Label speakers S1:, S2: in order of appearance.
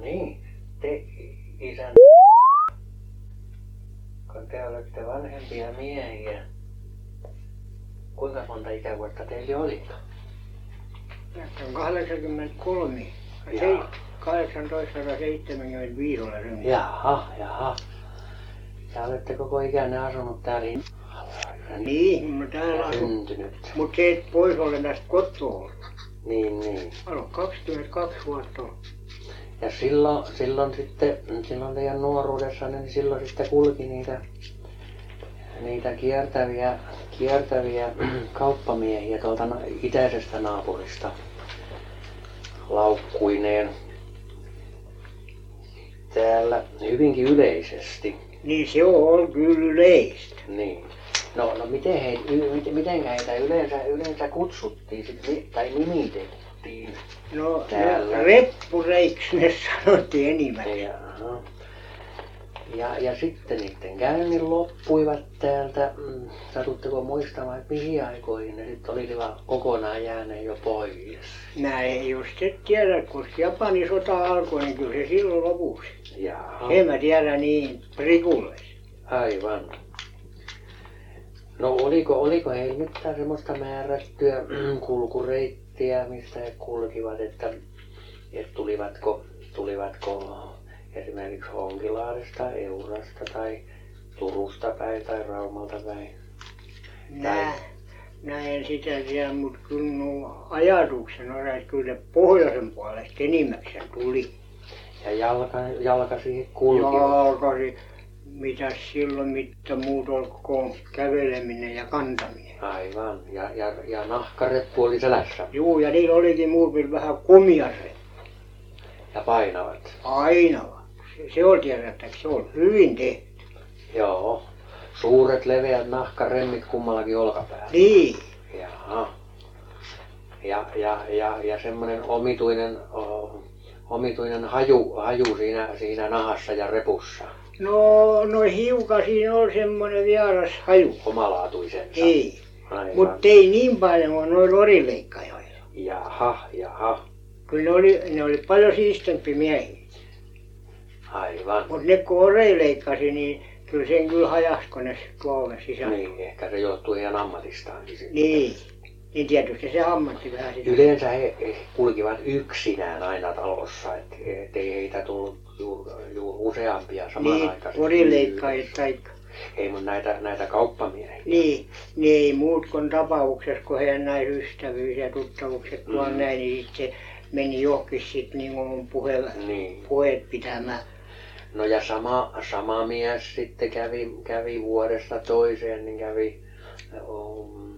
S1: niin, te isän kun te olette vanhempia miehiä, kuinka monta ikävuotta teillä oli?
S2: Tästä on 83.
S1: Jaa.
S2: Se, 1875 olen syntynyt.
S1: Jaha, jaha. Ja olette koko ikänne asunut täällä Hinnalla.
S2: Niin, mä täällä
S1: Mm.
S2: asun.
S1: Syntynyt.
S2: Mutta se, et pois olen tästä kotoa.
S1: Niin, niin.
S2: Mä olen 22 vuotta.
S1: Ja silloin, silloin sitten, silloin teidän nuoruudessa, niin silloin sitten kulki niitä, niitä kiertäviä, kiertäviä kauppamiehiä tuolta na- itäisestä naapurista laukkuineen täällä hyvinkin yleisesti.
S2: Niin se on ollut kyllä yleistä.
S1: Niin. No, no miten, he, miten, miten heitä yleensä, yleensä kutsuttiin sit, ni- tai nimitettiin?
S2: No,
S1: Täällä.
S2: no reppureiksi ne sanottiin enimmäkseen.
S1: Jaha. Ja, ja sitten niiden käynnin loppuivat täältä, mm, satutteko muistamaan, että mihin aikoihin ne sitten olisivat kokonaan jääneet jo pois?
S2: Mä ei just et tiedä, kun Japanin sota alkoi, niin kyllä se silloin lopuksi.
S1: Jaha.
S2: En mä tiedä niin prikulle.
S1: Aivan. No oliko, oliko heillä mitään semmoista määrättyä mm, kulkureittiä, mistä he kulkivat, että, että tulivatko, tulivatko esimerkiksi Honkilaadesta, Eurasta tai Turusta päin tai Raumalta päin?
S2: Mä, mä en sitä tiedä, mutta kyllä mun ajatuksen on, että kyllä ne pohjoisen puolesta enimmäkseen tuli.
S1: Ja jalka, jalka siihen kulkivat.
S2: Jalkasi, mitä silloin, mitä muut olkoon käveleminen ja kantaminen.
S1: Aivan. Ja, ja, ja nahkareppu oli selässä
S2: Juu, ja niillä olikin muupilla vähän komiaset,
S1: ja painavat.
S2: aina vaan. Se, se on tiedättäkö, se on hyvin tehty.
S1: Joo. Suuret leveät nahkaremmit kummallakin olkapäällä.
S2: Niin,
S1: Jaha. Ja, ja, ja, ja semmoinen omituinen, o, omituinen haju, haju siinä, siinä nahassa ja repussa,
S2: no, no hiukan siinä on semmoinen vieras haju.
S1: omalaatuisensa.
S2: Ei,
S1: Aivan.
S2: mutta ei niin paljon kuin noilla orileikkajoilla.
S1: Jaha, jaha,
S2: Kyllä ne oli, ne oli paljon siistempi miehiä.
S1: aivan.
S2: Mutta ne kun orei leikkasi, niin kyllä sen kyllä hajas, kun ne tuolle sisällä. Niin.
S1: Niin, ehkä se johtuu ihan ammatistaankin. sitten.
S2: niin. Niin tietysti se ammatti vähän sitä.
S1: Yleensä he he kulkivat yksinään aina talossa, et- ettei heitä tullut juuri, useampia
S2: Niin,
S1: samanaikaisesti.
S2: orileikkaajat tai...
S1: Ei mun näitä, näitä kauppamiehiä.
S2: Niin, niin ei muut kuin tapauksessa, kun heidän näin ystävyys ja tuttavuukset tuolla
S1: Mm.
S2: näin, niin sitten se meni johonkin sitten niin kuin puhe,
S1: Niin.
S2: puheet pitämään.
S1: No ja sama, sama mies sitten kävi, kävi vuodesta toiseen, niin kävi um,